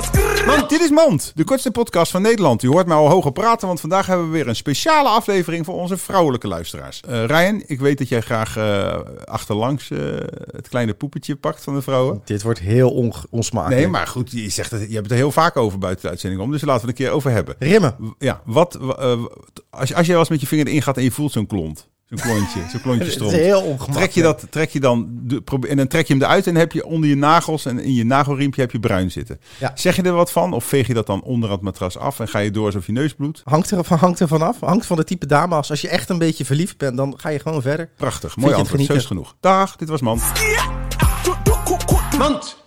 Dit, dit is Mand, de kortste podcast van Nederland. U hoort mij al hoger praten, want vandaag hebben we weer een speciale aflevering voor onze vrouwelijke luisteraars. Eh Ryan, ik weet dat jij graag eh, achterlangs eh, het kleine poepetje pakt van de vrouwen. Dit wordt heel onge- onsmakelijk. Nee, maar goed, je, zegt dat, je hebt het er heel vaak over buiten de uitzending om, dus laten we het een keer over hebben. Rimmen. W- Ja, wat, w- eh, w- als, je- als je wel eens met je vinger erin gaat en je voelt zo'n klont, zo'n klontje, zo'n klontje Het is stront. heel ongemakkelijk. Trek je dat, trek je dan, de- probeer- en dan trek je hem eruit en dan heb je onder je nagels en in je nagelriempje heb je bruin zitten. Ja. Zeg je er wat van of veeg je dat dan onder het matras af en ga je door alsof je neus bloedt? Hangt er, van, hangt er vanaf. Hangt van de type dame af. Als je echt een beetje verliefd bent, dan ga je gewoon verder. Prachtig, je mooi het antwoord, zo is genieten? genoeg. Dag, dit was Man. Mand.